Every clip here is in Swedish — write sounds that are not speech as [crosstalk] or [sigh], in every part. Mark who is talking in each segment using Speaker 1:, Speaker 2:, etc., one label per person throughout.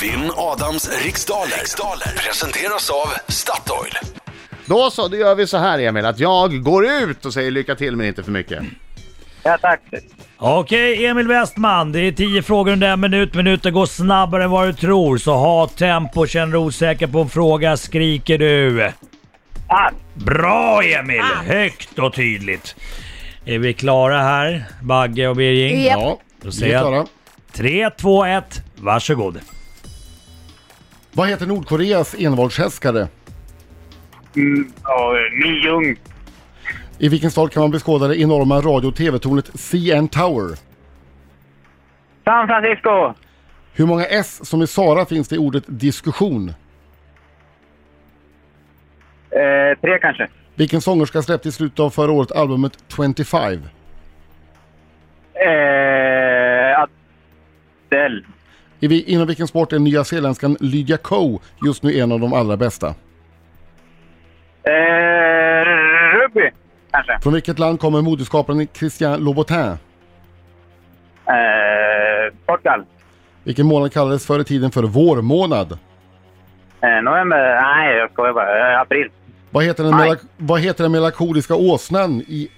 Speaker 1: Vinn Adams riksdaler. riksdaler presenteras av Statoil.
Speaker 2: Då så, då gör vi så här Emil, att jag går ut och säger lycka till men inte för mycket.
Speaker 3: Ja, tack.
Speaker 4: Okej, Emil Westman. Det är 10 frågor under en minut. Minuter går snabbare än vad du tror, så ha tempo. Känner du osäker på en fråga skriker du.
Speaker 3: Pass.
Speaker 4: Bra Emil!
Speaker 3: Ah.
Speaker 4: Högt och tydligt. Är vi klara här, Bagge och Birging?
Speaker 5: Japp.
Speaker 2: Ja,
Speaker 4: Då
Speaker 2: vi
Speaker 4: säger
Speaker 2: är
Speaker 4: jag-
Speaker 2: klara.
Speaker 4: 3, 2, 1. Varsågod.
Speaker 2: Vad heter Nordkoreas envåldshärskare?
Speaker 3: Mm, ja, ny Ljung.
Speaker 2: I vilken stad kan man beskåda det enorma radio och tv-tornet CN Tower?
Speaker 3: San Francisco.
Speaker 2: Hur många S som i Sara finns det i ordet diskussion?
Speaker 3: Eh, tre kanske.
Speaker 2: Vilken sångerska släppte i slutet av förra året albumet 25?
Speaker 3: Eh, Adele.
Speaker 2: I, vi- inom vilken sport är nyzeeländskan Lydia Ko just nu en av de allra bästa?
Speaker 3: Eh, rugby kanske.
Speaker 2: Från vilket land kommer modeskaparen Christian Louboutin?
Speaker 3: Eh, Portugal.
Speaker 2: Vilken månad kallades förr i tiden för vårmånad?
Speaker 3: Eh, november? Nej, jag skojar bara. Eh, april.
Speaker 2: Vad heter den,
Speaker 3: Aj.
Speaker 2: melak- vad heter den melankoliska åsnan i...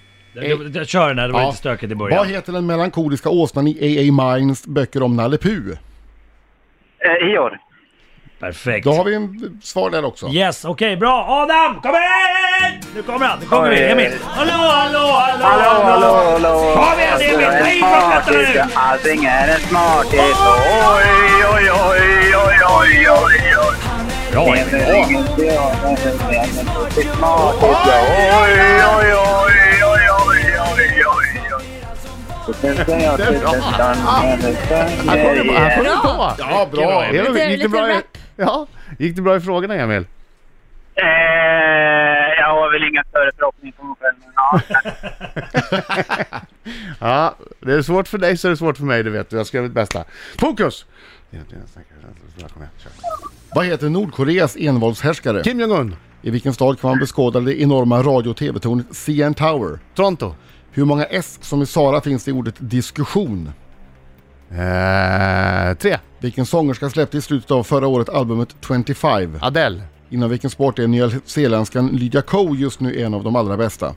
Speaker 4: Kör den här, det var
Speaker 2: Ja.
Speaker 4: lite stökigt i
Speaker 2: Vad
Speaker 4: början.
Speaker 2: heter den melankoliska åsnan i A.A. Mines böcker om Nalle Puh?
Speaker 3: Eh, Ior.
Speaker 4: Perfekt.
Speaker 2: Då har vi en svar där också.
Speaker 4: Yes, okej, bra. Adam, kom hit! Nu kommer han, nu kommer vi.
Speaker 3: Oj.
Speaker 4: Emil. Hallå, hallå, hallå,
Speaker 3: Hallå, hallå, hallå!
Speaker 4: Kom igen Emil,
Speaker 3: Alltså,
Speaker 4: ta i från fötterna nu!
Speaker 3: smartis, allting är en smartis. Oj, oj, oj, oj, oj, oj, oj.
Speaker 4: Bra
Speaker 3: Det
Speaker 4: Emil.
Speaker 3: är ingenting annat än en smartis. Oj, oj, oj, oj, oj, oj, oj, oj.
Speaker 2: Det är bra. Här kommer- här kommer-
Speaker 5: Bra!
Speaker 2: Ja, bra!
Speaker 4: bra,
Speaker 2: Det var-
Speaker 5: Lite-
Speaker 2: Gick det
Speaker 5: lite
Speaker 2: bra i-
Speaker 5: rap.
Speaker 2: Ja, gick det bra i frågorna Emil?
Speaker 3: Eh, Jag har väl inga större förhoppningar på mig själv. men ja, tack.
Speaker 2: Ja, det är svårt för dig så är det svårt för mig, det vet du. Jag ska göra mitt bästa. Fokus! Vad heter Nordkoreas envåldshärskare?
Speaker 6: Kim Jong-Un,
Speaker 2: I vilken stad kan man beskåda det enorma radio och tv-tornet CN Tower?
Speaker 6: Toronto.
Speaker 2: Hur många S som i Sara finns det i ordet diskussion?
Speaker 6: Eh, tre.
Speaker 2: Vilken sångerska släppte i slutet av förra året albumet 25?
Speaker 6: Adele.
Speaker 2: Inom vilken sport är nyzeeländskan Lydia Ko just nu en av de allra bästa?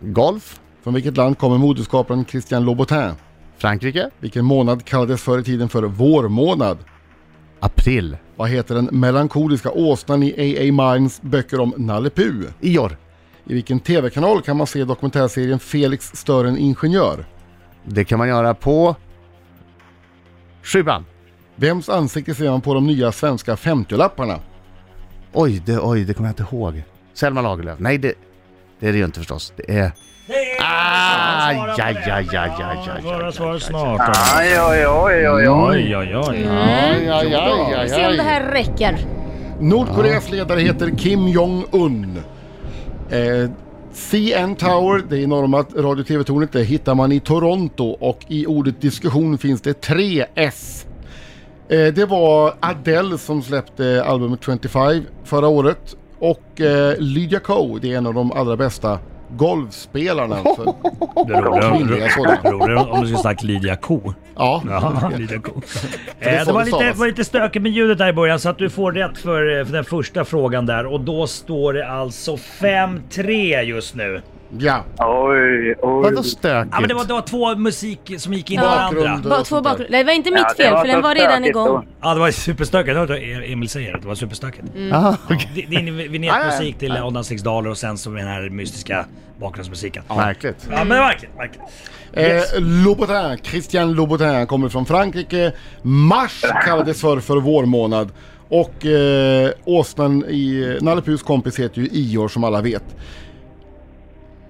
Speaker 6: Golf.
Speaker 2: Från vilket land kommer modeskaparen Christian Louboutin?
Speaker 6: Frankrike.
Speaker 2: Vilken månad kallades förr i tiden för vårmånad?
Speaker 6: April.
Speaker 2: Vad heter den melankoliska åsnan i A.A. Mines böcker om Nalle Puh?
Speaker 6: Ior.
Speaker 2: I vilken TV-kanal kan man se dokumentärserien Felix stör en ingenjör?
Speaker 6: Det kan man göra på... Sjuan.
Speaker 2: Vems ansikte ser man på de nya svenska 50-lapparna?
Speaker 6: Oj, det, oj, det kommer jag inte ihåg. Selma Lagerlöf. Nej, det, det är det ju inte förstås. Det är... Ah, ja, ja, ja, ja, ja, ja,
Speaker 4: Våra
Speaker 6: ja,
Speaker 4: svar
Speaker 6: ja,
Speaker 4: snart.
Speaker 3: Aj, oj, oj, oj, oj.
Speaker 4: Oj, oj, oj.
Speaker 5: Mm.
Speaker 2: Ja, ja,
Speaker 5: Vi ser om det här räcker.
Speaker 2: Nordkoreas ledare heter Kim Jong-Un. Eh, CN Tower, det enorma radio och tv-tornet, det hittar man i Toronto och i ordet diskussion finns det tre S. Eh, det var Adele som släppte albumet 25 förra året och eh, Lydia Ko, det är en av de allra bästa golfspelarna. För,
Speaker 4: Det är roligare-
Speaker 2: Kvinnliga sådana.
Speaker 4: det är roligare om du skulle sagt Lydia Ko.
Speaker 2: ja.
Speaker 4: [laughs] Ja, Lydia Ko.
Speaker 2: är
Speaker 4: Eh,
Speaker 2: så
Speaker 4: Det var
Speaker 2: det
Speaker 4: lite,
Speaker 2: stavas.
Speaker 4: var lite stökigt med ljudet där i början så att du får rätt för, eh, för den första frågan där och då står det alltså 5-3 just nu.
Speaker 2: ja.
Speaker 3: Oj, oj.
Speaker 6: Vadå stökigt?
Speaker 4: Ja men det var, det var två musik som gick in i
Speaker 5: Ja.
Speaker 4: varandra.
Speaker 5: Bara två bakgrund. Nej, det var inte
Speaker 3: Ja,
Speaker 5: mitt
Speaker 3: det
Speaker 5: fel för
Speaker 3: så
Speaker 5: den var redan
Speaker 3: stökigt då.
Speaker 5: igång.
Speaker 4: Ja det var superstökigt. Hörde du vad Emil säger? Det var superstökigt.
Speaker 6: Ah, okej.
Speaker 4: Det, det är en vignettmusik till Adam Six Daler och sen så den här mystiska bakgrundsmusiken. Ja, Mm.
Speaker 6: Märkligt.
Speaker 4: men det var verkligen, verkligen. Yes.
Speaker 2: Eh, Louboutin, Christian Louboutin kommer från Frankrike. Mars kallades för för vårmånad. Och eh, åsnan i Nalle Puhs kompis heter ju Ior som alla vet.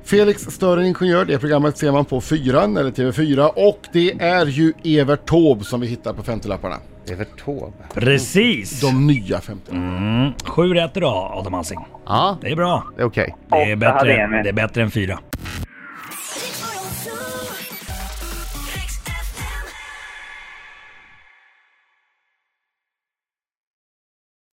Speaker 2: Felix stör en ingenjör, det programmet ser man på Fyran eller TV4 och det är ju Evert Taube som vi hittar på 50-lapparna.
Speaker 6: Evert Taube.
Speaker 4: Precis!
Speaker 2: De nya 50
Speaker 4: Mm. Sju rätt idag Adam Alsing.
Speaker 6: Ja,
Speaker 4: Det är bra.
Speaker 6: det är okej.
Speaker 4: Det
Speaker 3: Åtta
Speaker 4: är
Speaker 3: hade jag
Speaker 4: bättre,
Speaker 3: med.
Speaker 4: det är bättre än fyra.